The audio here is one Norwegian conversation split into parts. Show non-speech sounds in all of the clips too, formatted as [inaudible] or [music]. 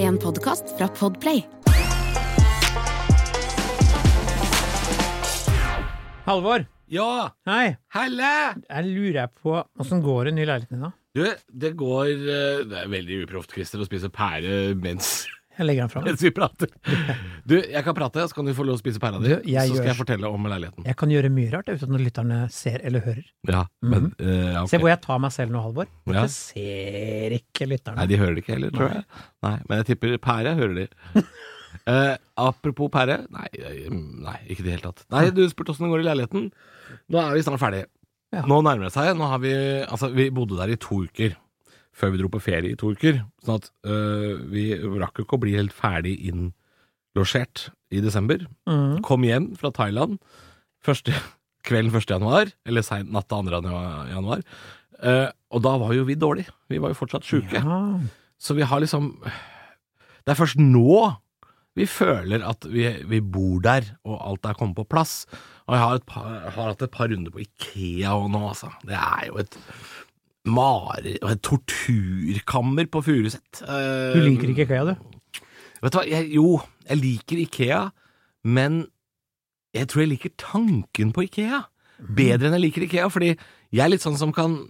en podkast fra Podplay. Halvor, Ja, hei. helle! Jeg lurer på åssen går det i ny leiligheten din, da? Du, det går eh, Det er veldig uproft, Christer, å spise pære mens, [laughs] Jeg legger den fra meg. mens vi prater. Du, jeg kan prate, så kan du få lov å spise pæra di. Du, jeg Så skal gjør- jeg fortelle om leiligheten. Jeg kan gjøre mye rart uten at lytterne ser eller hører. Ja, men eh, ja, ok. Mm-hmm. Se hvor jeg tar meg selv nå, Halvor. Ja. Jeg ser ikke lytterne. Nei, de hører det ikke heller, tror jeg. Nei, Men jeg tipper pære hører [laughs] de. Eh, apropos pære nei, eh, nei, ikke i det hele tatt. Nei, du spurte åssen det går i leiligheten. Nå er vi snart ferdige. Ja. Nå nærmer det seg. Nå har vi, altså, vi bodde der i to uker. Før vi dro på ferie i to uker. Sånn at eh, vi rakk jo ikke å bli helt ferdig innlosjert i desember. Mm. Kom hjem fra Thailand første, kvelden 1. januar, eller sein natt til 2. januar. Eh, og da var jo vi dårlige. Vi var jo fortsatt sjuke. Ja. Så vi har liksom Det er først nå vi føler at vi, vi bor der, og alt er kommet på plass. Og jeg har, et par, har hatt et par runder på Ikea og nå, altså. Det er jo et mare... Og et torturkammer på Furuset. Du liker ikke køya, Eh, du? Vet du hva, jeg, jo, jeg liker Ikea, men jeg tror jeg liker tanken på Ikea. Bedre enn jeg liker Ikea, fordi jeg er litt sånn som kan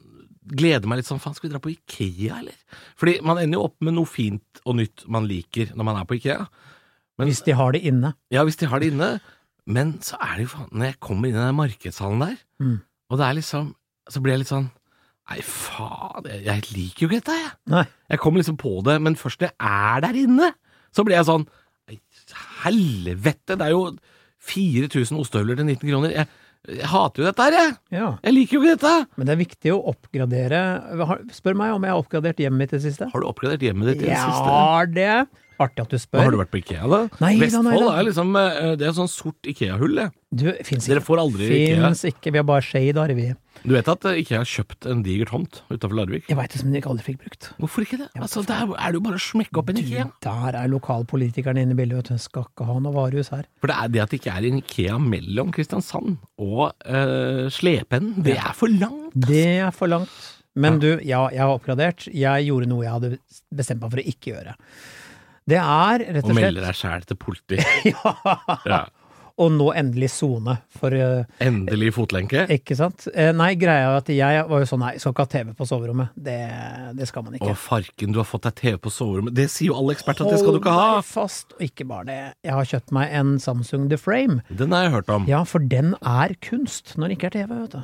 glede meg litt sånn, faen, skal vi dra på Ikea, eller? Fordi man ender jo opp med noe fint og nytt man liker når man er på Ikea. Men- Hvis de har det inne. Ja, hvis de har det inne, men så er det jo faen, når jeg kommer inn i den markedshallen der, Mm. og det er liksom, så blir jeg litt sånn, nei faen, jeg, jeg liker jo ikke dette, jeg. Nei. Jeg kom liksom på det, men først når jeg er der inne, så ble jeg sånn «Ei, Helvete, det er jo 4000 ostehøvler til 19 kroner. Jeg, jeg hater jo dette her, jeg. Ja. Jeg liker jo ikke dette. Men det er viktig å oppgradere Har- Spør meg om jeg har oppgradert hjemmet mitt i det siste. Har du oppgradert hjemmet ditt i det Jeg siste? har det. Artig at du Nå har du spør. vært på Ikea, da? Nei, da, Vestfold nei, da. er liksom eh, Det er sånn sort Ikea-hull, det. Du, fins Dere ikke. får aldri Ikea. Fins ikke. Vi har bare shade, har vi. Du vet at eh, Ikea har kjøpt en diger tomt utafor Larvik? Jeg veit det, men jeg aldri fikk brukt. Hvorfor ikke det? Altså, Der er det jo bare å smekke opp en Ikea. Der er lokalpolitikerne inne i bildet, vet du. Skal ikke ha noe varehus her. For det er det at det ikke er en Ikea mellom Kristiansand og eh, Slependen, det er for langt. Det er for langt. Men du, ja, jeg har oppgradert. Jeg gjorde noe jeg hadde bestemt meg for å ikke gjøre. Det er rett Og og melder slett deg sjæl til politi. [laughs] Ja! Ja. Og nå endelig sone, for eh, Endelig i fotlenke. Ikke sant? Eh, Nei, greia er at jeg var jo sånn, nei, skal ikke ha TV på soverommet. Det, det skal man ikke. Å, farken, du har fått deg TV på soverommet. Det sier jo alle eksperter at det skal du ikke ha! Hold deg fast, og ikke bare det. Jeg har kjøpt meg en Samsung The Frame. Den har jeg hørt om. Ja, for den er kunst når det ikke er TV, vet du.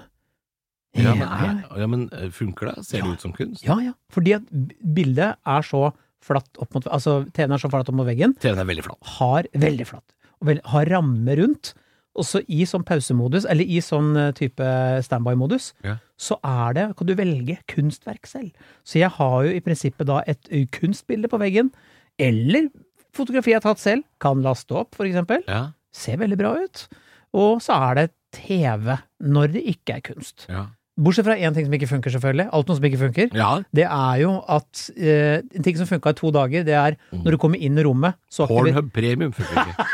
Ja, men, ja, ja. er, ja, men eh, funker det? Ser Ja. det ut som kunst? ja, ja. Fordi at b- bildet er så flatt opp mot Altså, TV-en er så flatt opp mot veggen, TV-en er veldig flat. har veldig flatt, og vel- har ramme rundt. Og så i sånn pausemodus, eller i sånn eh, type standby-modus, Ja. så er det, kan du velge kunstverk selv. Så jeg har jo i prinsippet da et eh, kunstbilde på veggen, eller fotografi jeg har tatt selv, kan laste opp, for eksempel. Ja, Ser veldig bra ut. Og så er det TV når det ikke er kunst. ja. Bortsett fra én ting som ikke funker, selvfølgelig. Alt noe som ikke funker. ja Det er jo at eh, En ting som funka i to dager, det er Mm. når du kommer inn i rommet, så aktiver- Pornhub premium funker ikke.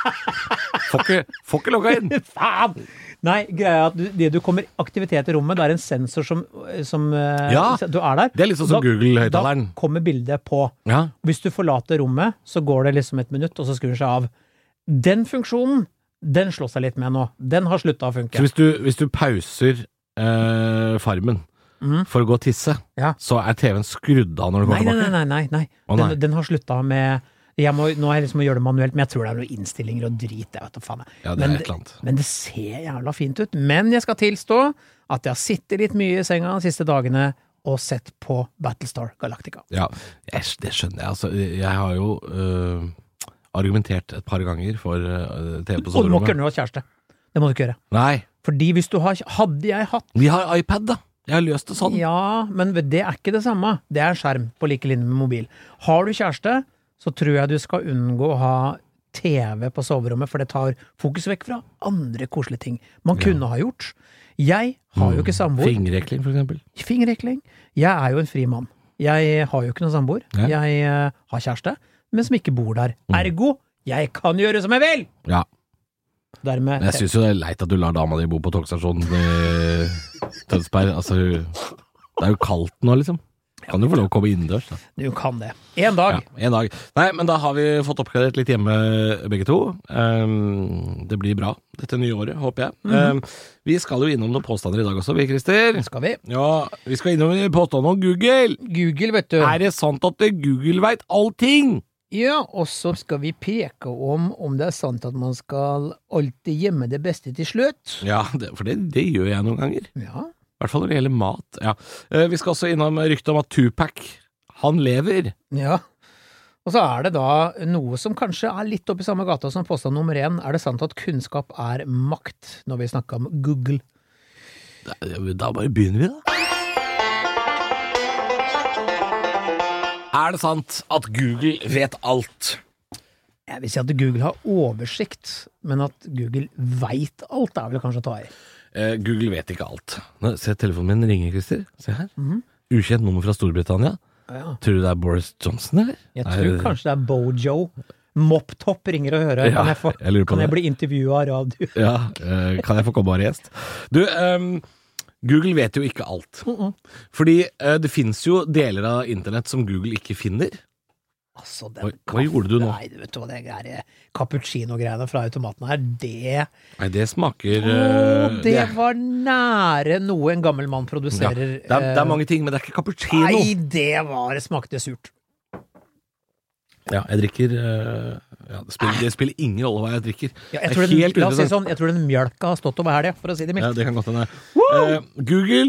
Får ikke, får ikke logga [laughs] inn! [laughs] Faen! Nei, greia er at du, det du kommer aktivitet i rommet, det er en sensor som, som eh, Ja, Du er der. Det er litt sånn som Da- Google-høyttaleren. Da kommer bildet på. Ja. Hvis du forlater rommet, så går det liksom et minutt, og så skrur den seg av. Den funksjonen, den slår seg litt med nå. Den har slutta å Så funke. hvis du, hvis du pauser eh, Farmen Mhm. for å gå og tisse, Ja. så er TV-en skrudd av når du Nei, nei, går tilbake? nei. nei, nei, nei. Å, nei. Den, den har slutta med jeg må, Nå har jeg liksom å gjøre det manuelt, men jeg tror det er noen innstillinger og drit. Jeg vet da faen. jeg. Ja, det Men er det- et eller annet. Men det ser jævla fint ut. Men jeg skal tilstå at jeg har sittet litt mye i senga de siste dagene og sett på Battlestar Galactica. Ja, jeg, det skjønner jeg. Altså, jeg har jo øh, argumentert et par ganger for øh, TV på Og du må ikke soverommet. gjøre noe kjæreste. Det må du ikke gjøre. Nei, Fordi hvis du har Hadde jeg hatt vi har iPad, da. Jeg har løst det sånn. Ja, men det er ikke det samme. Det er en skjerm på like linje med mobil. Har du kjæreste, så tror jeg du skal unngå å ha TV på soverommet, for det tar fokus vekk fra andre koselige ting man kunne ha gjort. Jeg har jo ikke Mm. samboer. Fingerekling, for eksempel. Fingerrekling. Jeg er jo en fri mann. Jeg eh, har jo ikke noen samboer. Nei. Jeg eh, har kjæreste, men som ikke bor der. Mm. Ergo, jeg kan gjøre som jeg vil! Ja. Dermed Men jeg syns jo det er leit at du lar dama di bo eh, på togstasjonen i Tønsberg. Altså, det er jo kaldt nå, liksom. Kan du få lov å komme innendørs, da. Du kan det. En dag. Ja, en dag. Nei, men da har vi fått oppgradert litt hjemme, begge to. Ehm, det blir bra dette nye året, håper jeg. Ehm, vi skal jo innom noen påstander i dag også, vi, Christer. Skal vi? Ja, vi skal innom en påstand om Google. Google, vet du. Er det sant at Google veit allting? Ja, og så skal vi peke om om det er sant at man skal alltid gjemme det beste til slutt. Ja, det, for det, det gjør jeg noen ganger. Ja. I hvert fall når det gjelder mat. Ja. Eh, vi skal også innom ryktet om at Tupac, han lever. ja. Og så er det da noe som kanskje er litt oppi samme gata som påstand nummer én. Er det sant at kunnskap er makt, når vi snakker om Google? Da, da bare begynner vi, da. Er det sant at Google vet alt? Jeg vil si at Google har oversikt, men at Google veit alt, er vel kanskje å ta i. Eh, Google vet ikke alt. Nå, se telefonen min ringer, Christer. Se her. Mhm. Ukjent nummer fra Storbritannia. Ja. Tror du det er Boris Johnson, eller? Jeg Nei, tror det- kanskje det er Bojo. Mopptopp ringer og hører. Ja, kan jeg, få, jeg lurer på kan jeg det. bli intervjua av [laughs] radio? Ja, eh, kan jeg få komme og være gjest? Du, ehm, Google vet jo ikke alt. Fordi eh, det finnes jo deler av internett som Google ikke finner. Altså, den Oi, hva kaffe- gjorde du nå? Nei, vet du hva, det er eh, cappuccino-greiene fra automaten her, det Nei, det smaker Å, eh, Det er- var nære noe en gammel mann ja, produserer. eh, det, er, det er mange ting, men det er ikke cappuccino. Nei, det var smakte surt. Ja, jeg drikker eh, ja, det, spiller, det spiller ingen rolle hva jeg drikker. Ja, Det jeg, er tror den, la oss helt si det uinteressant. sånn, jeg tror den mjølka har stått over helga, for å si det Ja, mildt. det kan godt hende. Eh, Google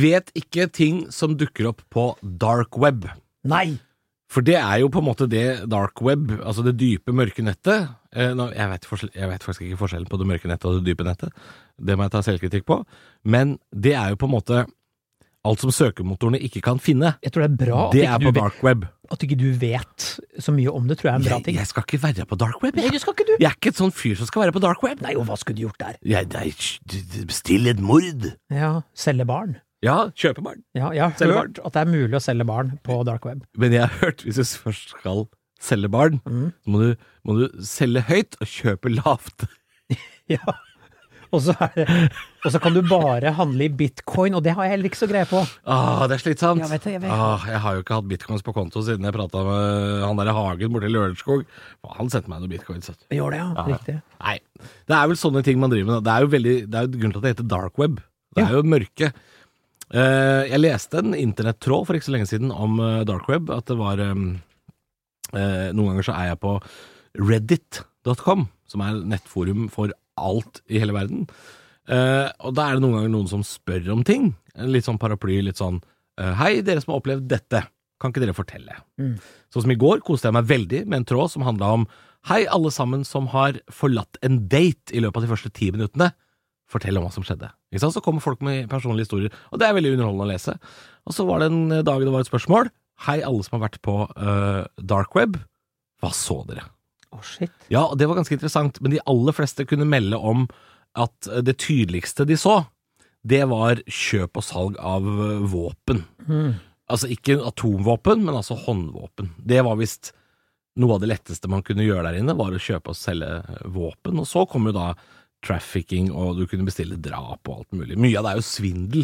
vet ikke ting som dukker opp på dark web. Nei! For det er jo på en måte det dark web, altså det dype, mørke nettet. Eh, nå, jeg, vet forskjell- jeg vet faktisk ikke forskjellen på det mørke nettet og det dype nettet. Det må jeg ta selvkritikk på. Men det er jo på en måte alt som søkemotorene ikke kan finne. Jeg tror det er bra at Det ikke, er du, på vet- dark web. at ikke du vet så mye om det, tror jeg er en bra Jeg, ting. jeg skal ikke være på dark web. Nei, Jeg, du skal ikke du! jeg er ikke et sånn fyr som skal være på dark web. Nei, og hva skulle du gjort der? Jeg, nei, sj- d- d- bestill et mord. Ja, selge barn. Ja, kjøpe barn. Ja, jeg har Selge hørt at det er mulig å selge barn på dark web. Men jeg har hørt, hvis du først skal selge barn, Mm. så må du, må du selge høyt og kjøpe lavt. Ja. [laughs] Og så, er det, og så kan du bare handle i bitcoin, og det har jeg heller ikke så greie på. Ah, det er slitsomt. Jeg vet det, jeg vet det. ah, jeg har jo ikke hatt bitcoins på konto siden jeg prata med han der i Hagen borte i Lørenskog. Han sendte meg noen bitcoins. vet du. Gjør det, ja. Riktig. Nei, det er vel sånne ting man driver med. da. Det er jo veldig, det er jo grunnen til at det heter dark web. Det Ja. er jo mørke. Eh, jeg leste en internettråd for ikke så lenge siden om eh, dark web, at det var em, eh, Noen ganger så er jeg på reddit.com, som er nettforum for alt i hele verden. Eh, og da er det noen ganger noen som spør om ting. Litt sånn paraply, litt sånn eh, Hei, dere som har opplevd dette, kan ikke dere fortelle? Mm. Sånn som i går koste jeg meg veldig med en tråd som handla om Hei, alle sammen som har forlatt en date i løpet av de første ti minuttene. Fortell om hva som skjedde. Ikke sant? Så kommer folk med personlige historier, og det er veldig underholdende å lese. Og så var det en eh, dag det var et spørsmål. Hei, alle som har vært på eh, dark web. Hva så dere? Å, shit. Ja, og det var ganske interessant, men de aller fleste kunne melde om at eh, det tydeligste de så, det var kjøp og salg av eh, våpen. Mm. Altså ikke atomvåpen, men altså håndvåpen. Det var visst noe av det letteste man kunne gjøre der inne, var å kjøpe og selge eh, våpen. Og så kom jo da trafficking, og du kunne bestille drap og alt mulig. Mye av det er jo svindel.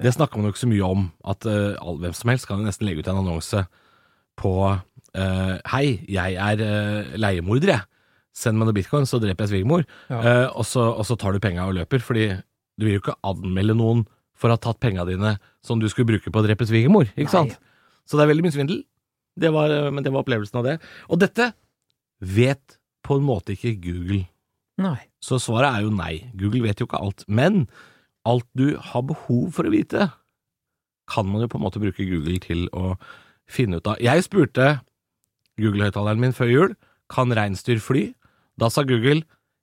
Det snakker man jo ikke så mye om, at eh, all, hvem som helst kan jo nesten legge ut en annonse på eh, Hei, jeg er eh, leiemorder, jeg. Send meg noe bitcoin, så dreper jeg svigermor. Ja. Eh, og, så, og så tar du penga og løper, fordi du vil jo ikke anmelde noen for å ha tatt penga dine som du skulle bruke på å drepe svigermor. Nei. Ikke sant? Så det er veldig mye svindel. Det var, eh, men det var opplevelsen av det. Og dette vet på en måte ikke Google. Nei. Så svaret er jo nei. Google vet jo ikke alt. Men alt du har behov for å vite, kan man jo på en måte bruke Google til å finne ut av. Jeg spurte Google-høyttaleren min før jul kan reinsdyr fly. Da sa Google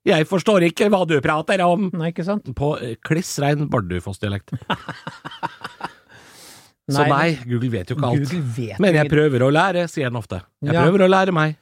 jeg forstår ikke hva du prater om! Nei, ikke sant? På eh, kliss rein [laughs] Bardufoss-dialekt. Så Nei, nei, Google vet jo ikke alt. Google vet Men jo jeg ingenting. prøver å lære, sier den ofte. Jeg Ja. prøver å lære meg.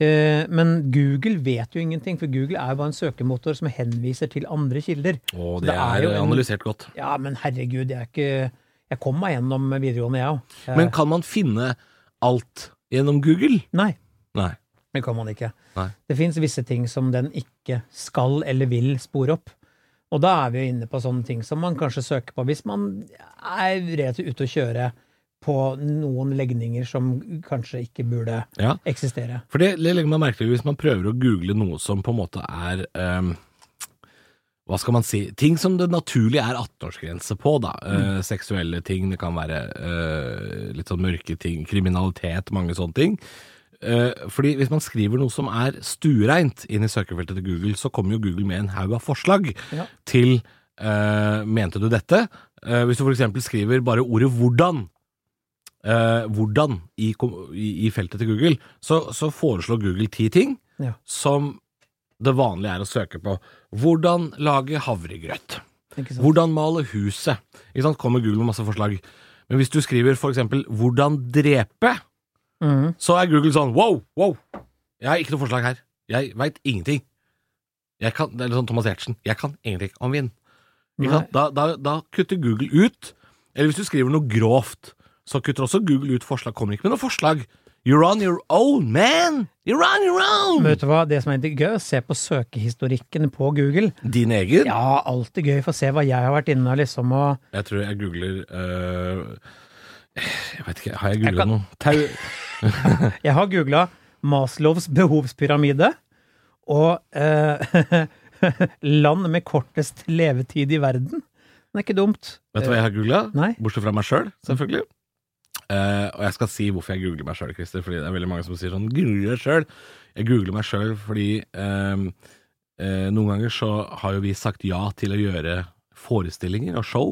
Eh, Men Google vet jo ingenting, for Google er jo bare en søkemotor som henviser til andre kilder. Og Så det, det er er, jo en- analysert godt. Ja, men herregud, jeg er ikke Jeg kom meg gjennom videregående, jeg Eh, òg. Men kan man finne alt gjennom Google? Nei, Nei. det kan man ikke. Nei. Det fins visse ting som den ikke skal eller vil spore opp. Og da er vi jo inne på sånne ting som man kanskje søker på hvis man er rett ute å kjøre på noen legninger som kanskje ikke burde Ja. eksistere. For det det legger man merke til hvis man prøver å google noe som på en måte er ehm, Hva skal man si Ting som det naturlig er 18-årsgrense på, da. Eh, seksuelle ting, det kan være eh, litt sånn mørke ting, kriminalitet, mange sånne ting. Eh, fordi hvis man skriver noe som er stuereint inn i søkefeltet til Google, så kommer jo Google med en haug av forslag Ja. til eh, Mente du dette? Eh, hvis du for eksempel skriver bare ordet hvordan, eh, hvordan i, kom- i, i feltet til Google, så, så foreslår Google ti ting Ja. som det vanlige er å søke på. Hvordan lage havregrøt? Ikke sant? Hvordan male huset? Ikke sant? Kommer Google med masse forslag. Men hvis du skriver for eksempel 'hvordan drepe', Mhm. så er Google sånn wow, wow. Jeg har ikke noe forslag her. Jeg veit ingenting. Jeg kan, det er litt sånn Thomas Giertsen. Jeg kan egentlig ikke om vind. Ikke sant? Da, da, da kutter Google ut. Eller hvis du skriver noe grovt, så kutter også Google ut forslag. Kommer ikke med noe forslag. You're on your own, man! You're on your Men own! Vet du hva, det som er litt gøy, å se på søkehistorikken på Google. Din egen? Ja, alltid gøy for å se hva jeg har vært inne og liksom og Jeg tror jeg googler øh, Jeg vet ikke, har jeg Jeg googla kan- noe? Tau... Jeg har googla Maslows behovspyramide og eh, [laughs] land med kortest levetid i verden. Det er ikke dumt. Eh, Vet du hva jeg har googla? Nei. Bortsett fra meg sjøl, selv, selvfølgelig. Eh, og jeg skal si hvorfor jeg googler meg sjøl, Christer. Fordi det er veldig mange som sier sånn Googler deg sjøl. Jeg googler meg sjøl fordi eh, eh, noen ganger så har jo vi sagt ja til å gjøre forestillinger og show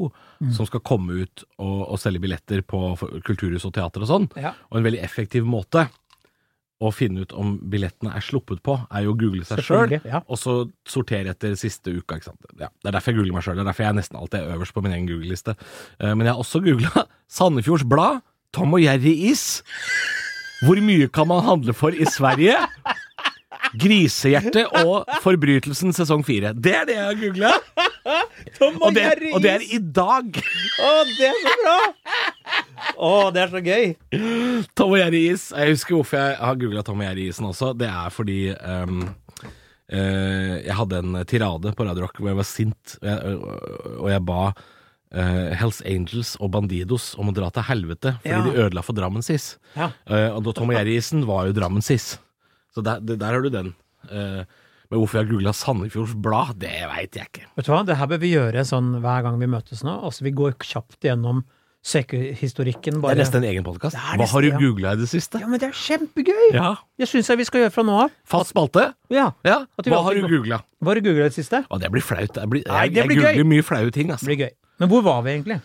som skal komme ut og, og selge billetter på for- kulturhus og teater og sånn. Ja. Og en veldig effektiv måte å finne ut om billettene er sluppet på, er jo å google seg sjøl. Selvfølgelig. Ja. Og så sortere etter siste uka. ikke sant? Ja, det er derfor jeg googler meg sjøl. Det er derfor jeg nesten alltid er øverst på min egen Google-liste. Eh, Men jeg har også googla [laughs] Sandefjords Blad, Tom og Jerry-is. Hvor mye kan man handle for i Sverige? Grisehjerte og Forbrytelsen sesong fire. Det er det jeg har googla, og, det- og det er i dag. Å, det er så bra! [laughs] Å, det er så gøy! Tom og Jerry-is. Jeg husker hvorfor jeg har googla Tom og Jerry-isen også. Det er fordi ehm, eh, jeg hadde en tirade på Radio Rock hvor jeg var sint, og jeg, og jeg ba eh, Hells Angels og Bandidos om å dra til helvete fordi Ja. de ødela for Drammen sis. Ja. Eh, og da Tom og Jerry-isen var jo Drammen sis. Så der, der har du den. Eh, men hvorfor jeg googla Sandefjords Blad, det veit jeg ikke. Vet du hva, det her bør vi gjøre sånn hver gang vi møtes nå. Altså, vi går kjapt gjennom søkehistorikken. Det Bare. er nesten en egen podkast. Det er Hva nesten, har du ja. googla i det siste? Ja, men det er kjempegøy! Ja. Det syns jeg vi skal gjøre fra nå av. Fast spalte? Ja. Ja. At vi Hva har alltid du går- googla? Hva har du googla i det siste? Å, det blir flaut. Det blir, Nei, jeg, det blir jeg googler mye flaue ting, Det altså. blir gøy. Men hvor var vi egentlig?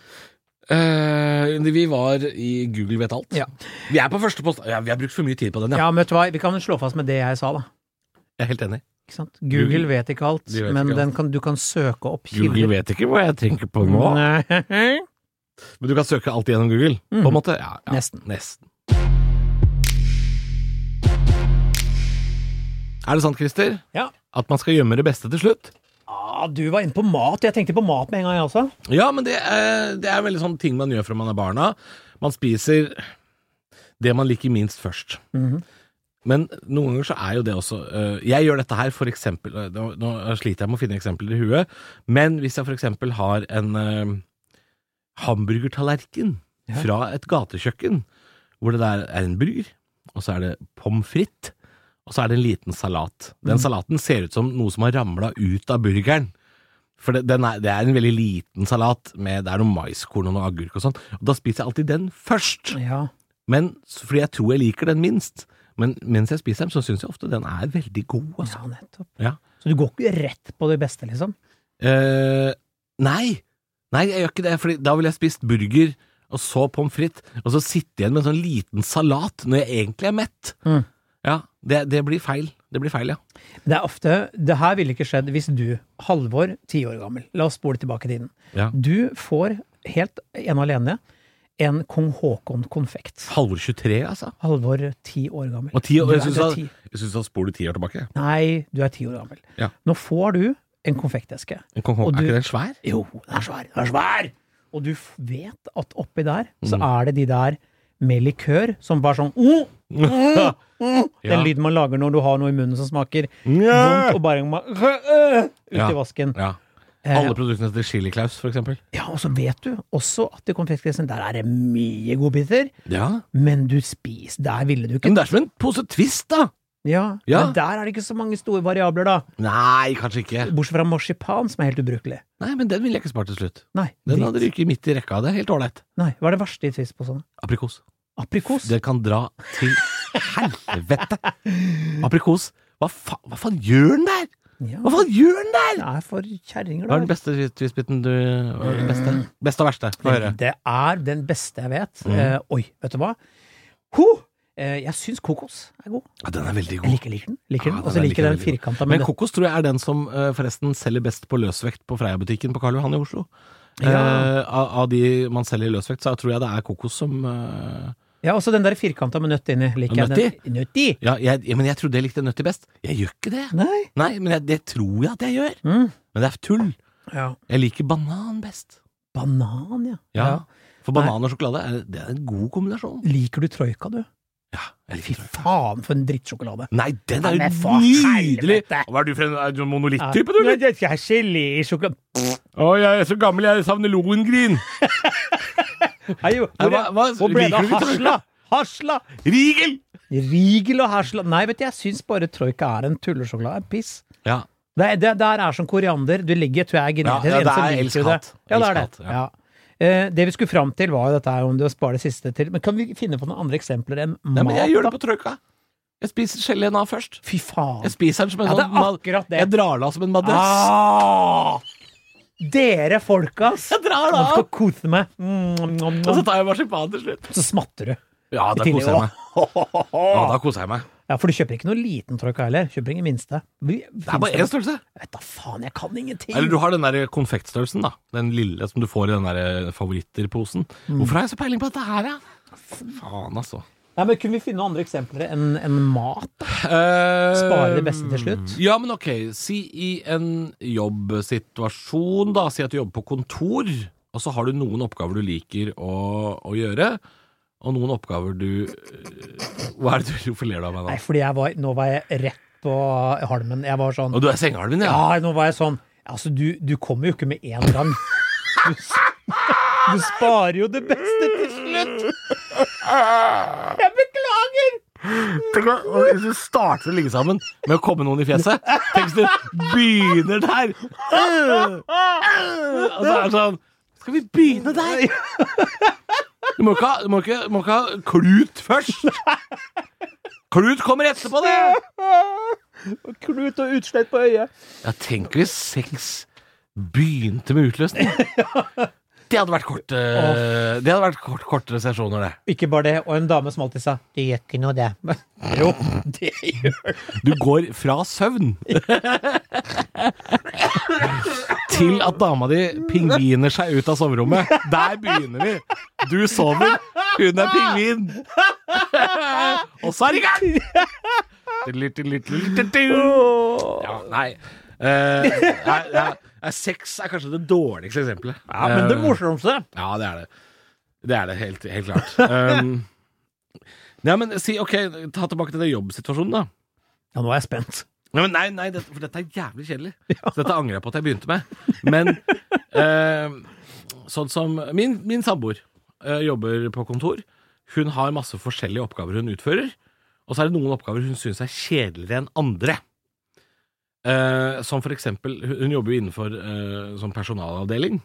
Eh, vi var i Google vet alt. Ja. Vi er på første post. Ja, vi har brukt for mye tid på den, ja. Ja, men vet du hva, vi kan slå fast med det jeg sa, da. Jeg er helt enig. Ikke sant? Google, Google- vet ikke alt, De vet men ikke alt. den kan, du kan søke opp Google kilder. vet ikke hva jeg tenker på nå. Mm. Nei. Men du kan søke alt gjennom Google, på en måte. Ja, ja. Mm. Nesten. Nesten. Er det sant, Christer, [laughs] Ja. at man skal gjemme det beste til slutt? Ah, du var inne på mat. Jeg tenkte på mat med en gang, jeg også. Ja, men det er, det er veldig sånn ting man gjør fra man er barna. Man spiser det man liker minst først. Mhm. Men noen ganger så er jo det også øh, Jeg gjør dette her for eksempel øh, nå, nå sliter jeg med å finne eksempler i huet, men hvis jeg for eksempel har en øh, hamburgertallerken Ja. fra et gatekjøkken, hvor det der er en burger, og så er det pommes frites, og så er det en liten salat. Den Mhm. salaten ser ut som noe som har ramla ut av burgeren. For det, den er, det er en veldig liten salat, med, det er noe maiskorn og noe agurk og sånn. Og da spiser jeg alltid den først, Ja. men, s- fordi jeg tror jeg liker den minst. Men mens jeg spiser den, så syns jeg ofte den er veldig god. Altså. ja, nettopp. Ja. Så du går ikke rett på det beste, liksom? Eh, nei, nei, jeg gjør ikke det, for da ville jeg spist burger og så pommes frites, og så sitte igjen med en sånn liten salat når jeg egentlig er mett. Mm. Ja, det, det blir feil. Det blir feil, ja. Det er ofte Det her ville ikke skjedd hvis du, Halvor, ti år gammel La oss spole tilbake i tiden. ja. Du får helt ene og alene en kong Haakon-konfekt. Halvor 23, altså. Halvor, ti år gammel. Og ti år, Du jeg er- du syns er da- ti- jeg syns da spor du ti år tilbake. Nei, du er ti år gammel. Ja. Nå får du en konfekteske. En kong, Og Haakon- du- er ikke den [laughs] svær? Jo, den er svær! Den er svær! Og du f- vet at oppi der Mm. så er det de der med likør som bare sånn oh, oh, oh, Den Ja. lyden man lager når du har noe i munnen som smaker Ja. vondt, og bare må- øh, øh, ut Ja. i vasken. Ja. Eh, Alle produktene til Chili Claus, for eksempel. Ja, og så vet du også at i konfektkrisen der er det mye godbiter, Ja. men du spiser Der ville du ikke Men det er som en pose Twist, da! Ja, Ja. men der er det ikke så mange store variabler, da. Nei, kanskje ikke. Bortsett fra marsipan, som er helt ubrukelig. Nei, men den ville jeg ikke spart til slutt. Nei, Den drit. hadde ryket midt i rekka. Det er helt ålreit. Nei, hva er det verste i twist på sånn? sånne? Aprikos. Aprikos? Dere kan dra til helvete! Aprikos, hva, fa hva faen gjør den der?! Ja, Hva faen gjør den der?! det er for kjerringer, Hva er den da. beste twistbiten du hva er den Beste Beste og verste? Få høre. Det er den beste jeg vet. Mm. Eh, oi, vet du hva? Ho! Eh, jeg syns kokos er god. Ja, den er veldig Jeg god. liker, liker den. Liker Ja, den. den Og så er liker jeg den like veldig firkanta Men med det. kokos tror jeg er den som eh, forresten selger best på løsvekt på Freia-butikken på Karl Johan i Oslo. Ja. Eh, av, av de man selger i løsvekt, så tror jeg det er kokos som eh, Ja, også den der firkanta med nøtt inni. Liker jeg Nøtti? den. Nøtti? ja, jeg, ja, men jeg trodde jeg likte nøtti best. Jeg gjør ikke det. Nei. Nei, men jeg, det tror jeg at jeg gjør. Mm. Men det er tull. Ja. Jeg liker banan best. Banan, ja. Ja. For banan og sjokolade er, det er en god kombinasjon. Liker du troika, du? Ja, jeg Fy liker det. faen, for en drittsjokolade. Nei, den er Ja, men jo for nydelig! helvete. Hva er du for en, er du en Ja. monolitt-type, du, Nei, eller? det er gelé i sjokolade. Å, jeg er så gammel, jeg savner Lohengrin. Nei, jo, Nei, Hvor, hva- hva- hvor ble det liker du av ikke hasla? Hasla! Rigel! Rigel og hasla. Nei, vet du, jeg syns bare troika er en tullesjokolade. Piss. Ja, Det, er- det der er som koriander. Du ligger, tror jeg, Ja, genetisk. ja, det eneste er liker du elsk-hat. Ja, det er det. Elsk-hat, Ja. Eh, det vi skulle fram til, var jo dette her om du sparer det siste til Men kan vi finne på noen andre eksempler enn Nei, men mat, jeg gjør det da? på trøkka. Jeg spiser geleen av først. Fy faen. Jeg spiser den som en Ja, det er sånn mad- akkurat det. Jeg drar det av som en madrass. Ah! Dere folkas! Jeg drar det Nå skal av! [laughs] jeg kose meg. Mm, nom, Og så nom. tar jeg marsipan til slutt. Så smatter du. Ja, da I tillegg- koser jeg meg. Ja, da koser jeg meg. [laughs] Ja, For du kjøper ikke noe liten troika heller. Kjøper ingen minste. Vi, Det er bare én størrelse. Vet da faen, jeg kan ingenting! Eller du har den der konfektstørrelsen, da. Den lille som du får i den der eh, favoritterposen. Mm. Hvorfor har jeg så peiling på dette her, da? Faen, altså. Nei, men Kunne vi finne noen andre eksempler enn enn mat? da? Spare det beste til slutt? Eh, Ja, men ok. Si i en jobbsituasjon, da. Si at du jobber på kontor, og så har du noen oppgaver du liker å, å gjøre. Og noen oppgaver du øh, Hva er det du [laughs] Hvorfor ler du av meg Nei, nå? fordi jeg var, nå var jeg rett på halmen. Jeg var sånn Og du er sengealven, ja? Ja, nå var jeg sånn Altså, du, du kommer jo ikke med én gang. Du, s- du sparer jo det beste til slutt! Jeg beklager! Tenk å- å- Hvis du starter å ligge sammen med å komme noen i fjeset Tenk hvis du begynner der Øh, øh, Og så er det sånn Skal vi begynne der? Du må ikke ha, du må ikke, du må ikke ha klut først Klut kommer etterpå det Klut og utslett på øyet. Jeg tenker hvis sex begynte med utløsning Det hadde vært kort eh, Det hadde vært kort, kortere sesjoner det Ikke bare det, og en dame som alltid sa 'Det gjør ikke noe, det'. Men, jo, det gjør Du går fra søvn Til at dama di pingviner seg ut av soverommet. Der begynner vi. Du sover, hun er pingvin. Og så er det i gang! Ja, nei. Eh, nei, nei, nei, Sex er kanskje det dårligste eksempelet. Ja, men det Eh, morsomste ja, det er det. Det er det, helt, helt klart. Um, [laughs] nei, men si, ok, ta tilbake til det jobbsituasjonen, da. Ja, nå er jeg spent. Nei, men nei, nei dette, for dette er jævlig [laughs] kjedelig. Så dette angrer jeg på at jeg begynte med. Men eh, sånn som Min, min samboer eh, jobber på kontor. Hun har masse forskjellige oppgaver hun utfører. Og så er det noen oppgaver hun syns er kjedeligere enn andre. Eh, som for eksempel Hun hun jobber jo innenfor eh, sånn personalavdeling.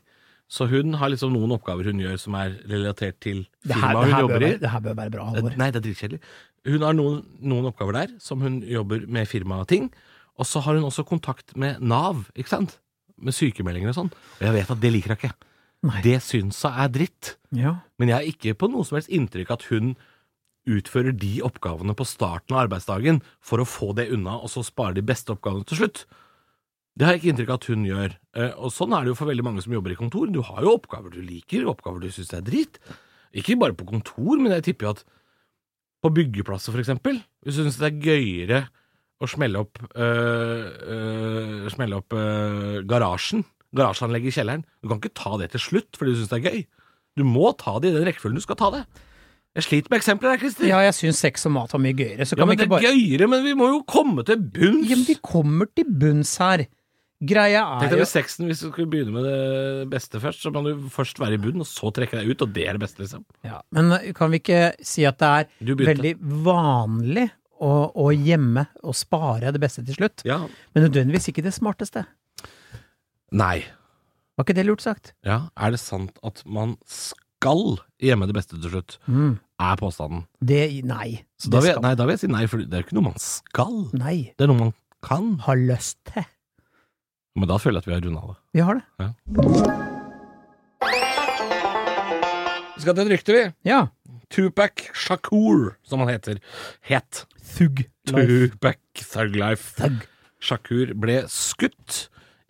Så hun har liksom noen oppgaver hun gjør som er relatert til Det her, firmaet det, hun her bør jobber i. være, det her bør være bra, Det- Halvor. Nei, det er dritkjedelig. Hun har noen, noen oppgaver der som hun jobber med firmating. Og så har hun også kontakt med Nav, ikke sant? Med sykemeldinger og sånn. Og jeg vet at det liker hun ikke. Nei. Det syns hun er dritt. Ja. Men jeg har ikke på noe som helst inntrykk at hun utfører de oppgavene på starten av arbeidsdagen for å få det unna, og så spare de beste oppgavene til slutt. Det har jeg ikke inntrykk av at hun gjør. Eh, Og sånn er det jo for veldig mange som jobber i kontor. Du har jo oppgaver du liker, oppgaver du syns er dritt. Ikke bare på kontor, men jeg tipper jo at på byggeplasser, for eksempel, hvis du syns det er gøyere å smelle opp, øh, øh, smelle opp øh, garasjen, garasjeanlegget i kjelleren Du kan ikke ta det til slutt fordi du syns det er gøy. Du må ta det i den rekkefølgen du skal ta det. Jeg sliter med eksempler her, Christer. ja, jeg syns sex og mat var mye gøyere. Så Ja, kan men vi det ikke er bare gøyere, men vi må jo komme til bunns. Ja, men vi kommer til bunns her. Greia Tenk er deg jo med sexen, hvis du skulle begynne med det beste først, så må du først være i bunnen, og så trekke deg ut, og det er det beste, liksom. ja, Men kan vi ikke si at det er Du begynte. veldig vanlig å, å gjemme og spare det beste til slutt? Ja. Men nødvendigvis ikke det smarteste. Nei. Var ikke det lurt sagt? Ja. Er det sant at man skal gjemme det beste til slutt, Mm. er påstanden. Det Nei. Så da Det vil, jeg, skal- nei, da vil jeg si nei, for det er jo ikke noe man skal. Nei. Det er noe man kan. Har lyst til. Men da føler jeg at vi har runda det. Vi har det. Vi skal til et rykte, vi. Ja. Tupac Shakur, som han heter. Het. Thug. Life. Tupac Thug Life. Thug. Shakur ble skutt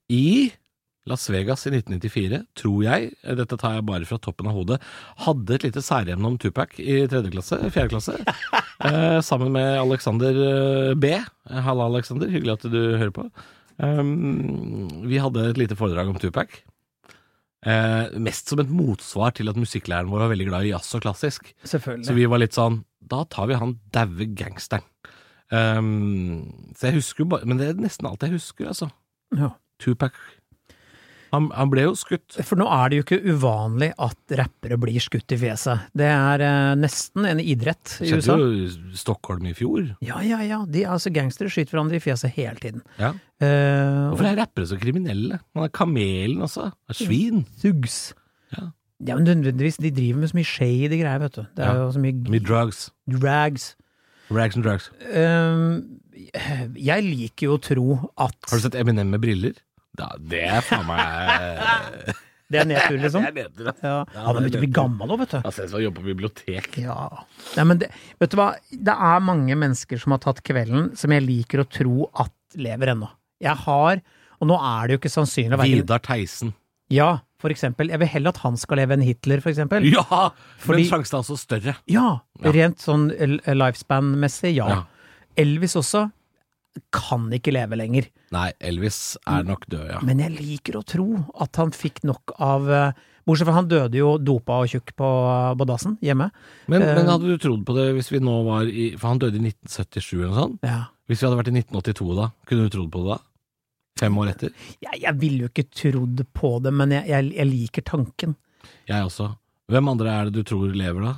i Las Vegas i 1994, tror jeg, dette tar jeg bare fra toppen av hodet, hadde et lite særemne om Tupac i tredje klasse, fjerde klasse, eh, sammen med Alexander eh, B. Halla, Alexander, hyggelig at du hører på. Um, vi hadde et lite foredrag om Tupac. Eh, mest som et motsvar til at musikklæreren vår var veldig glad i jazz og klassisk. Så Selvfølgelig. vi var litt sånn Da tar vi han daue gangsteren. Ehm, så jeg husker jo bare Men det er nesten alt jeg husker, altså. Ja. Tupac. Han, han ble jo skutt. For nå er det jo ikke uvanlig at rappere blir skutt i fjeset. Det er eh, nesten en idrett i Skjedde USA. jo i Stockholm i fjor. Ja, ja, ja. De, altså, gangstere skyter hverandre i fjeset hele tiden. Ja. Eh, Hvorfor er rappere så kriminelle? Man er kamelen også. Man Er svin. Thugs. Ja. Ja, men nødvendigvis. De driver med så mye shady greier, vet du. Det er Ja. jo så mye Mye drugs. drags. Rags and drugs. Eh, jeg liker jo å tro at Har du sett Eminem med briller? Da, det er faen meg Det er nedtur, liksom. Jeg vet det. Ja. [laughs] Ja, Han har det begynt å bli gammel òg, vet du. Altså, Jeg ser ut som han jobber på bibliotek. Ja. Nei, men det, vet du hva, det er mange mennesker som har tatt kvelden, som jeg liker å tro at lever ennå. Jeg har, og nå er det jo ikke sannsynlig å være Vidar Theisen. Ja, for eksempel. Jeg vil heller at han skal leve enn Hitler, for eksempel. Ja! Fordi- Men sjansen er altså større. Ja, Ja. rent sånn l- lifespan-messig, ja. Ja. Elvis også kan ikke leve lenger, Nei, Elvis er nok død, ja. men jeg liker å tro at han fikk nok av eh, Bortsett fra han døde jo dopa og tjukk på, på dassen hjemme. Men, Eh, men hadde du trodd på det hvis vi nå var i For han døde i 1977 eller noe sånt. Ja. Hvis vi hadde vært i 1982 da, kunne du trodd på det da? Fem år etter? Jeg, jeg ville jo ikke trodd på det, men jeg, jeg, jeg liker tanken. Jeg også. Hvem andre er det du tror lever da?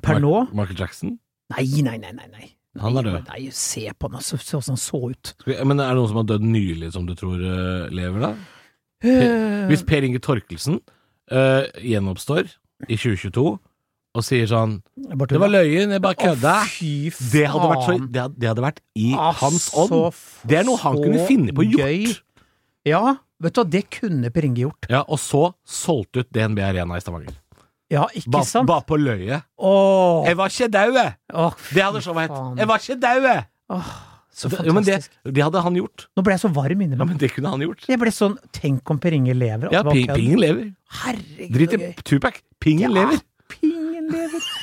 Per Mar- nå? Michael Jackson? Nei, nei, nei, nei. nei. Han er Nei, død. Nei, se på han, altså, se hvordan han så ut. Skal vi- Men er det noen som har dødd nylig som du tror eh, lever da? Hvis Per Inge Torkelsen eh, gjenoppstår i 2022 og sier sånn Det var løyen, jeg bare kødda. Eh, Fy faen. Det hadde vært, så, det hadde, det hadde vært i Ah, hans så ånd. f- Det er noe han så kunne finne på gøy. gjort. Ja, vet du hva, det kunne Per Inge gjort. Ja, og så solgte ut DNB Arena i Stavanger. Ja, ikke Ba, sant? ba på løye. Åh, Jeg var ikke daue! åh, Det hadde fy showet hett. faen. Jeg var ikke daue! Åh, så Jo, men det, fantastisk. det hadde han gjort. Nå ble jeg så varm inni Ja, meg. men det kunne han gjort. Jeg ble sånn, tenk om Per Inge lever. at Ja, det var Pi- kødd. Pingen lever. Herregud, Drit så i gøy. Tupac. Pingen lever. Pingen lever. [laughs]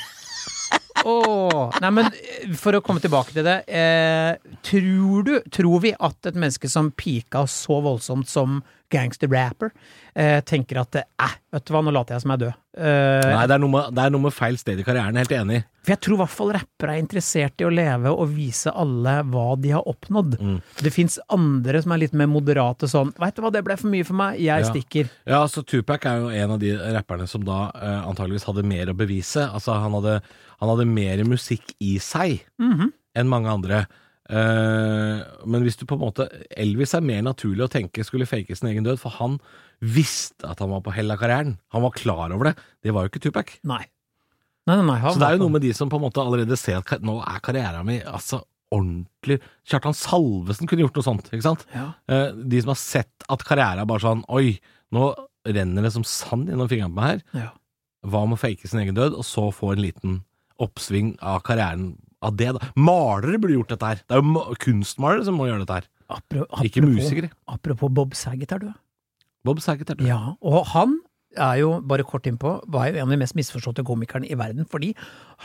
Åh, nei, men eh, for å komme tilbake til det. Eh, tror du, tror vi at et menneske som pika så voldsomt som gangster-rapper, eh, tenker at eh, vet du hva, nå later jeg som jeg er død. Eh, Nei, det er, noe med, det er noe med feil sted i karrieren, helt enig. For jeg tror i hvert fall rappere er interessert i å leve og vise alle hva de har oppnådd. Mm. Det fins andre som er litt mer moderate sånn Veit du hva, det ble for mye for meg, jeg Ja. stikker. Ja, så Tupac er jo en av de rapperne som da eh, antageligvis hadde mer å bevise. Altså, han hadde, han hadde mer musikk i seg Mhm. enn mange andre. Eh, men hvis du på en måte Elvis er mer naturlig å tenke skulle fake sin egen død, for han visste at han var på hell av karrieren. Han var klar over det. Det var jo ikke Tupac. Nei. Nei, nei, nei. han Så det er jo var noe med de som på en måte allerede ser at kar- nå er karrieren min altså ordentlig Kjartan Salvesen kunne gjort noe sånt, ikke sant? på- ja. Eh, De som har sett at karrieren er bare sånn Oi, nå renner det som sand gjennom fingrene på meg her. Ja. Hva med å fake sin egen død, og så få en liten oppsving av karrieren av det, da? Malere burde gjort dette her. Det er jo ma- kunstmalere som må gjøre dette her, Apro- ikke apropos- musikere. Apropos Bob Saget, er du. Bob Saget er død. Ja, og han er jo, bare kort innpå, var jo en av de mest misforståtte komikerne i verden, fordi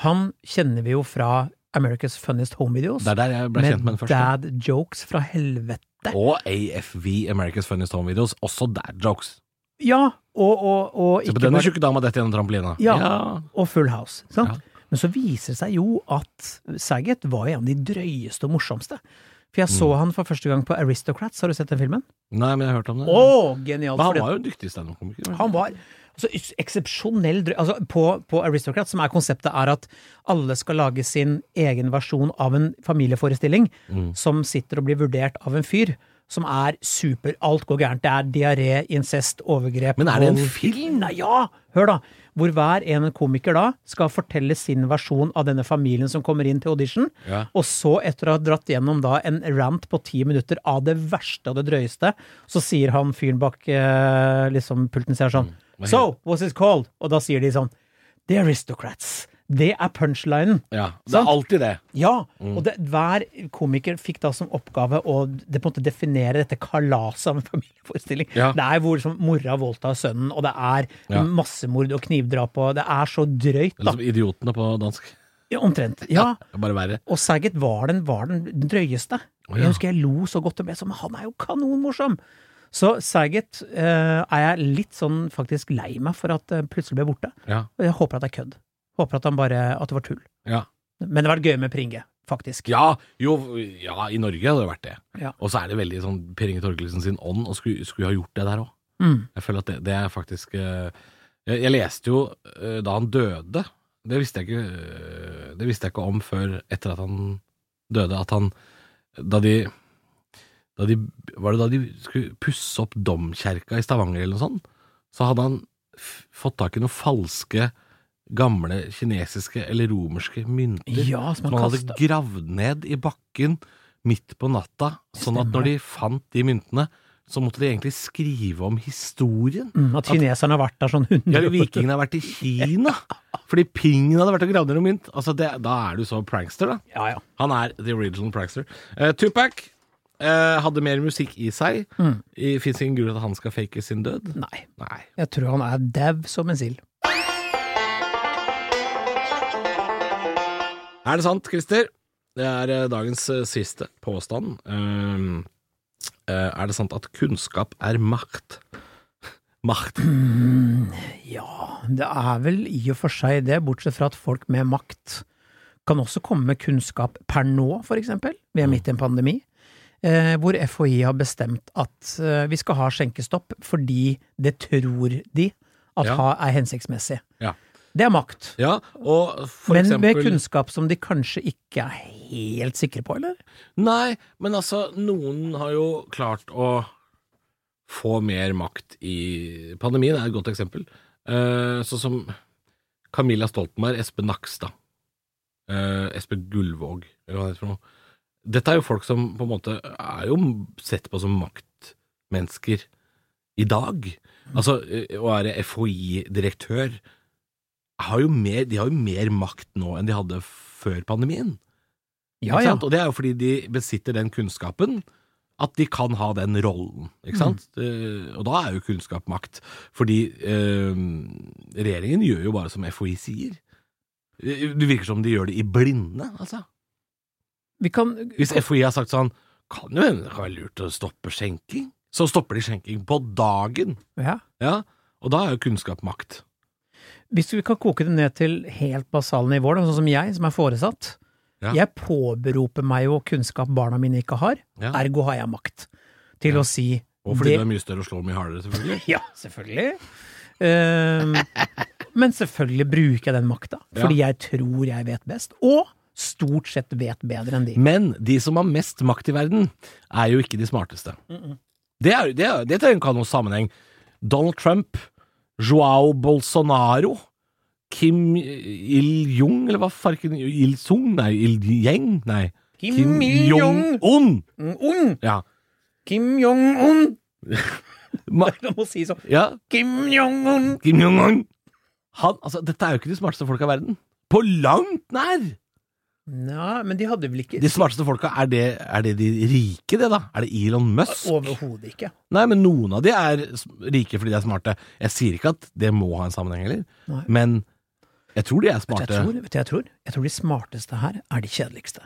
han kjenner vi jo fra America's Funniest Home Videos, Det er der jeg ble kjent med den første. dad jokes fra helvete. Og AFV, America's Funniest Home Videos, også der jokes. Ja, og, og, og Se på ikke denne bare tjukke dama dette gjennom trampolina. Ja. og Full House. Sant? Ja. Men så viser det seg jo at Saget var jo en av de drøyeste og morsomste. For jeg så Mm. han for første gang på Aristocrats, har du sett den filmen? Nei, men jeg har hørt om det. Å, genialt! Mm. men han fordi- var jo en dyktig standup-komiker. var Han var altså, eks- eksepsjonell drøy. Altså, på, på Aristocrat, som er konseptet, er at alle skal lage sin egen versjon av en familieforestilling Mm. som sitter og blir vurdert av en fyr som er super Alt går gærent. Det er diaré, incest, overgrep Men er det en vold. film? Nei, ja! Hør, da. Hvor hver en komiker da skal fortelle sin versjon av denne familien som kommer inn til audition. Ja. Og så, etter å ha dratt gjennom da en rant på ti minutter av det verste og det drøyeste, så sier han fyren bak eh, liksom pulten sier Mm. sånn So, what's it called? Og da sier de sånn The Aristocrats. Det er punchlinen. Ja, det Sant? er alltid det. Ja! Mm. Og det, hver komiker fikk da som oppgave å det, på en måte definere dette kalaset av en [laughs] familieforestilling. Ja. Det er hvor liksom, mora voldtar sønnen, og det er Ja. massemord og knivdrap og Det er så drøyt, Eller da. som Liksom Idiotene på dansk. Ja, Omtrent. Ja. Det er bare verre. Og Saget var den, var den drøyeste. Å, ja. Jeg husker jeg lo så godt om det, men han er jo kanonmorsom! Så Saget eh, er jeg litt sånn faktisk lei meg for at eh, plutselig ble borte. Ja. Og Jeg håper at det er kødd. Håper at han bare At det var tull. Ja. Men det hadde vært gøy med Pringe, faktisk. Ja, jo, ja, i Norge hadde det vært det. Ja. Og så er det veldig sånn Per Inge Torkelsen sin ånd, og skulle, skulle ha gjort det der òg. Mm. Jeg føler at det, det er faktisk eh, jeg, jeg leste jo eh, da han døde det visste, jeg ikke, eh, det visste jeg ikke om før etter at han døde, at han Da de da de, var det da de skulle pusse opp domkjerka i Stavanger eller noe sånt, så hadde han f fått tak i noen falske, gamle kinesiske eller romerske mynter Ja, som som han han kasta hadde gravd ned i bakken midt på natta, sånn at når de fant de myntene, så måtte de egentlig skrive om historien. mm, At kineserne har vært der sånn 100 Ja, Vikingene har vært i [laughs] Kina, fordi pingen hadde vært og gravd ned noen mynt. Altså, det, da er du så prankster, da. Ja, ja. Han er the original prankster. Eh, Tupac eh, hadde mer musikk i seg. Mm. Fins ingen grunn til at han skal fake sin død. Nei. Nei. Jeg tror han er dau som en sild. Er det sant, Christer? Det er eh, dagens eh, siste påstand. Ehm, eh, er det sant at kunnskap er makt? Makt. Ja, det er vel i og for seg det, bortsett fra at folk med makt kan også komme med kunnskap per nå, for eksempel. Vi er Mm. midt i en pandemi. Eh, hvor FHI har bestemt at eh, vi skal ha skjenkestopp fordi det tror de at Ja. ha er hensiktsmessig. Ja. Det er makt. Ja, og for men med eksempel kunnskap som de kanskje ikke er helt sikre på, eller? Nei, men altså, noen har jo klart å få mer makt i Pandemien er et godt eksempel. Eh, sånn som Camilla Stoltenberg, Espen Nakstad, eh, Espen Gullvåg, eller hva det heter for noe. Dette er jo folk som på en måte er jo sett på som maktmennesker i dag. Altså, eh, å være FHI-direktør har jo mer, De har jo mer makt nå enn de hadde før pandemien. Ja, Ikke Ah, ja. sant? Og det er jo fordi de besitter den kunnskapen at de kan ha den rollen, Mm. ikke sant? Eh, og da er jo kunnskap makt. Fordi eh, regjeringen gjør jo bare som FHI sier. Eh, Det virker som de gjør det i blinde, altså. Vi kan Hvis FHI har sagt sånn Kan jo hende det kan være lurt å stoppe skjenking? Så stopper de skjenking på dagen. ja. Ja, og da er jo kunnskap makt. Hvis vi kan koke det ned til helt basale nivåer, da, sånn som jeg, som er foresatt. Ja. Jeg påberoper meg jo kunnskap barna mine ikke har, Ja. ergo har jeg makt til å si Og fordi det- du er mye større og slår mye hardere, [laughs] selvfølgelig. Ja, selvfølgelig. Ehm, men selvfølgelig bruker jeg den makta, fordi jeg tror jeg vet best, og stort sett vet bedre enn de. Men de som har mest makt i verden, er jo ikke de smarteste. Det, er, det, er, det trenger ikke ha noen sammenheng. Donald Trump, Joao Bolsonaro, Kim Il-jung, eller hva farken Il-sung? Nei, Il-jeng? Nei. Kim Il-jong. Il-jong-un! Un, Ja. Kim Jong-un! Ma, Du må si sånn. ja. Kim Jong-un! Kim Jong-un! Han, altså, dette er jo ikke de smarteste folka i verden. På langt nær! Nei, men de hadde vel ikke De smarteste folka, er det, er det de rike, det, da? Er det Elon Musk? Overhodet ikke. Nei, men noen av de er s- rike fordi de er smarte. Jeg sier ikke at det må ha en sammenheng heller, Nei. men jeg tror de er Vet smarte. du, jeg tror, vet du, jeg tror, jeg tror de smarteste her er de kjedeligste.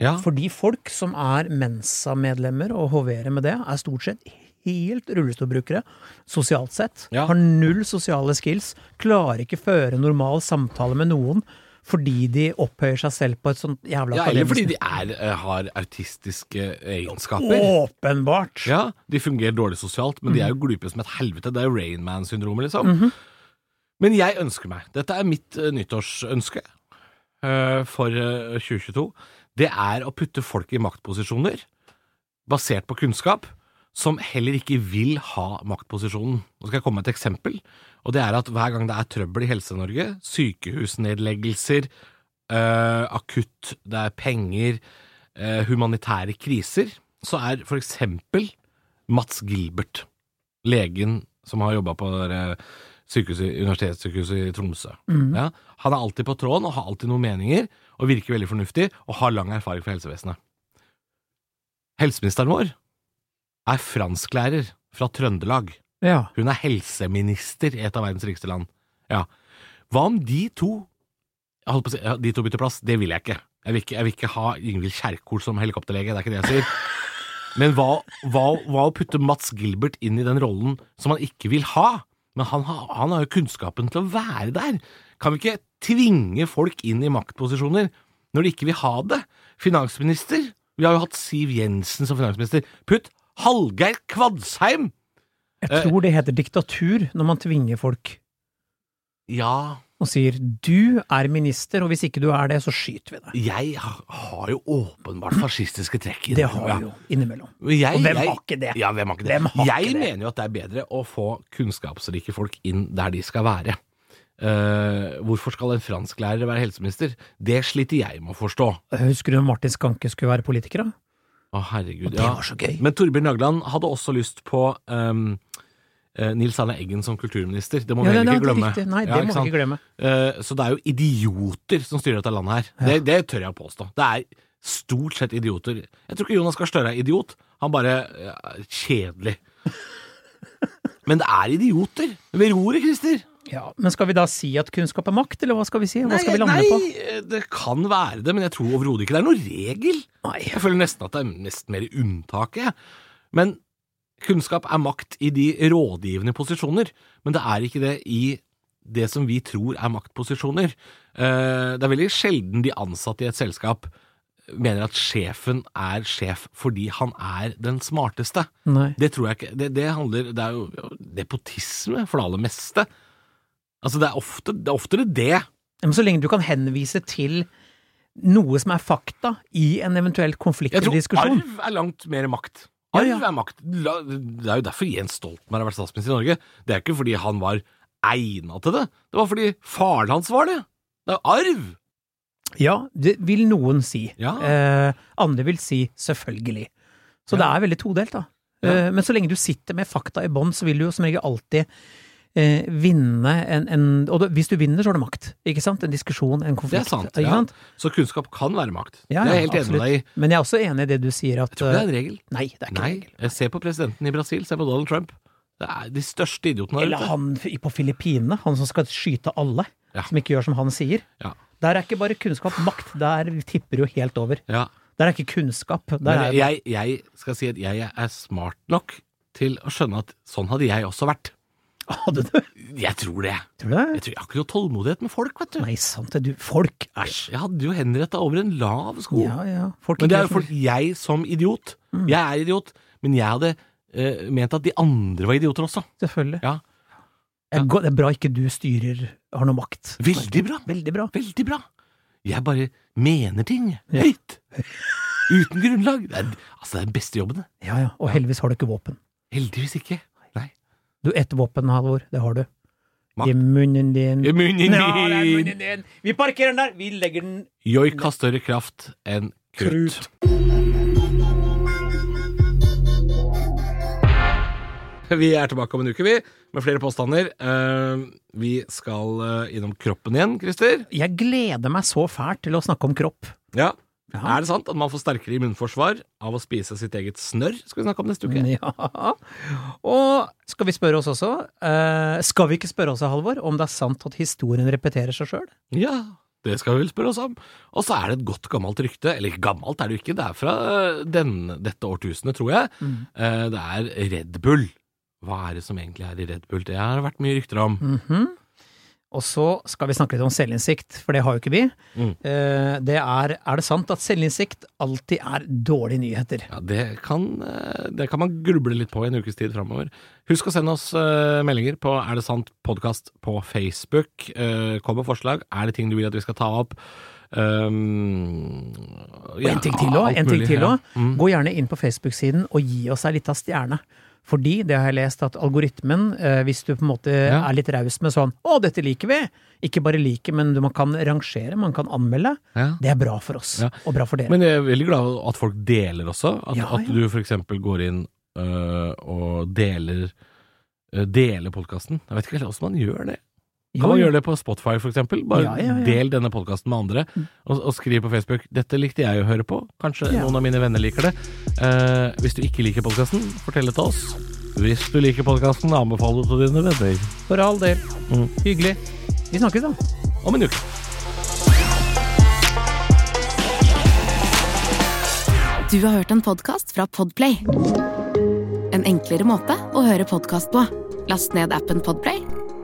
Ja. Fordi folk som er Mensa-medlemmer og hoverer med det, er stort sett helt rullestolbrukere, sosialt sett. Ja. Har null sosiale skills, klarer ikke føre normal samtale med noen. fordi de opphøyer seg selv på et sånt jævla Ja, eller akademisk fordi de er, eh, har autistiske egenskaper. Åpenbart! Ja, De fungerer dårlig sosialt, men de Mhm. er jo glupe som et helvete. Det er jo Rainman-syndromet, liksom. Men jeg ønsker meg Dette er mitt eh, nyttårsønske eh, for eh, 2022. Det er å putte folk i maktposisjoner basert på kunnskap som heller ikke vil ha maktposisjonen. Nå skal jeg komme med et eksempel, og det er at hver gang det er trøbbel i Helse-Norge, sykehusnedleggelser, eh, akutt, det er penger, eh, humanitære kriser, så er for eksempel Mats Gilbert, legen som har jobba på det der, eh, sykehuset, universitetssykehuset i Tromsø. Ja, han er alltid på tråden og har alltid noen meninger, og virker veldig fornuftig, og har lang erfaring fra helsevesenet. Helseministeren vår er fransklærer fra Trøndelag. Ja. Hun er helseminister i et av verdens rikeste land. Ja. Hva om de to jeg holdt på å si, ja, De to bytter plass? Det vil jeg ikke. Jeg vil ikke, jeg vil ikke ha Ingvild Kjerkol som helikopterlege, det er ikke det jeg sier. Men hva, hva, hva å putte Mats Gilbert inn i den rollen som han ikke vil ha? Men han, har- han har jo kunnskapen til å være der. Kan vi ikke tvinge folk inn i maktposisjoner når de ikke vil ha det? Finansminister? Vi har jo hatt Siv Jensen som finansminister. Putt Hallgeir Kvadsheim! Eh. Jeg tror det heter diktatur når man tvinger folk Ja, og sier 'du er minister, og hvis ikke du er det, så skyter vi deg'. Jeg ha- har jo åpenbart fascistiske trekk i Det har vi jo innimellom. Og hvem har ikke det? Ja, hvem har ikke det? Hvem har jeg ikke det? mener jo at det er bedre å få kunnskapsrike folk inn der de skal være. Eh, hvorfor skal en fransklærer være helseminister? Det sliter jeg med å forstå. Å, Husker du når Martin Skanke skulle være politiker, da? herregud. Det var så gøy. Men Torbjørn Jagland hadde også lyst på ehm, eh, Nils Arne Eggen som kulturminister. Det må vi Ja, heller det- ikke det er glemme. riktig. Nei, det Ja, må vi sant? ikke glemme. Eh, Så det er jo idioter som styrer dette landet her. Det, det tør jeg å påstå. Det er stort sett idioter. Jeg tror ikke Jonas Gahr Støre er idiot. Han bare eh, er [laughs] kjedelig. Men det er idioter ved roret, Christer. Ja, men skal vi da si at kunnskap er makt, eller hva skal vi si? Hva skal vi lande nei, på? eh, det kan være det, men jeg tror overhodet ikke det er noen regel. Nei. Jeg føler nesten at det er nesten mer unntaket. jeg. Men kunnskap er makt i de rådgivende posisjoner, men det er ikke det i det som vi tror er maktposisjoner. Eh, Det er veldig sjelden de ansatte i et selskap mener at sjefen er sjef fordi han er den smarteste. Nei. Det tror jeg ikke. Det, det handler Det er jo nepotisme for det aller meste. Altså, det er, ofte, det er oftere det. Men så lenge du kan henvise til noe som er fakta i en eventuell konflikt Jeg eller tror diskusjon arv er langt mer makt. Ja, Arv ja. er makt. La- Det er jo derfor Jens Stoltenberg har vært statsminister i Norge. Det er ikke fordi han var egna til det. Det var fordi faren hans var det. Det er jo arv! Ja, det vil noen si. Ja. Eh, andre vil si selvfølgelig. Så det Ja. er veldig todelt, da. Ja. Eh, men så lenge du sitter med fakta i bånn, så vil du jo som regel alltid eh, vinne en, en Og da, hvis du vinner, så har du makt. Ikke sant? En diskusjon, en Det konflikt. er sant. Ikke Ja. sant? Så kunnskap kan være makt. Ja, det er ja, jeg helt enig med absolutt. deg i. Men jeg er også enig i det du sier at Jeg tror ikke eh, det er en regel. Nei, det er ikke Nei. en regel. Se på presidenten i Brasil. Se på Donald Trump. Det er de største idiotene der Eller ute. han f- på Filippinene, han som skal skyte alle. Ja. Som ikke gjør som han sier. Ja. Der er ikke bare kunnskap makt, der tipper jo helt over. Ja. Der er ikke kunnskap. Der Men er jeg, jeg skal si at jeg er smart nok til å skjønne at sånn hadde jeg også vært. [laughs] Hadde du? Jeg tror det. Tror du det? Jeg, tror, jeg har ikke noe tålmodighet med folk, vet du. Nei, sant det, du. Folk! Æsj. Jeg hadde jo henretta over en lav sko. Ja, Mm. ja. Folk Men det er jo ikke fordi jeg som idiot Jeg er idiot, men jeg hadde eh, ment at de andre var idioter også. Selvfølgelig. Ja. Det er go- Det er bra ikke du styrer, har noe makt. Veldig bra! Veldig bra. Veldig bra! Jeg bare mener ting høyt. Uten grunnlag. Det er, altså, det er den beste jobben, det. Ja, ja. Og heldigvis har du ikke våpen. Heldigvis ikke. Nei. Du, ett våpen, Halvor, det har du. Makt. I munnen din. I munnen Ja, det er min! munnen din. Vi parkerer den der! Vi legger den Joik har større kraft enn krutt. Vi er tilbake om en uke, vi, med flere påstander. Eh, vi skal eh, innom kroppen igjen, Christer. Jeg gleder meg så fælt til å snakke om kropp. Ja. Ja. Er det sant at man får sterkere immunforsvar av å spise sitt eget snørr? Skal vi snakke om neste uke. Mm. [laughs] Ja. Og skal vi spørre oss også, eh, skal vi ikke spørre oss, Halvor, om det er sant at historien repeterer seg sjøl? Ja, det skal vi vel spørre oss om. Og så er det et godt gammelt rykte, eller ikke gammelt er det jo ikke, det er fra eh, den, dette årtusenet, tror jeg. Eh, Det Mhm. er Red Bull. Hva er det som egentlig er i Red Bull? Det har det vært mye rykter om. Og så skal vi snakke litt om selvinnsikt, for det har jo ikke vi. Mm. Eh, Det er, er det sant at selvinnsikt alltid er dårlige nyheter? Ja, det kan, eh, det kan man gruble litt på i en ukes tid framover. Husk å sende oss eh, meldinger på Er det sant podkast på Facebook. Eh, Kom med forslag. Er det ting du vil at vi skal ta opp? Um, Og en ting til også, en ting til også. Ja. Mm. Gå gjerne inn på Facebook-siden og gi oss ei lita stjerne. Fordi, det har jeg lest, at algoritmen, eh, hvis du på en måte Ja. er litt raus med sånn 'Å, dette liker vi!' Ikke bare liker, men du, man kan rangere, man kan anmelde. Ja. Det er bra for oss, Ja. og bra for dere. Men jeg er veldig glad at folk deler også. At, Ja, at ja. du f.eks. går inn øh, og deler øh, Deler podkasten. Jeg vet ikke helt hvordan man gjør det. Kan Jo, man jo. gjøre det på Spotify f.eks.? Bare Ja, ja, ja. del denne podkasten med andre, og, og skriv på Facebook 'Dette likte jeg å høre på'. Kanskje Ja. noen av mine venner liker det. Eh, hvis du ikke liker podkasten, fortell det til oss. Hvis du liker podkasten, anbefal det til dine venner. For all del. Mm. Hyggelig. Vi snakkes, da. Om en uke. Du har hørt en podcast fra Podplay En enklere måte å høre podcast på Last ned appen Podplay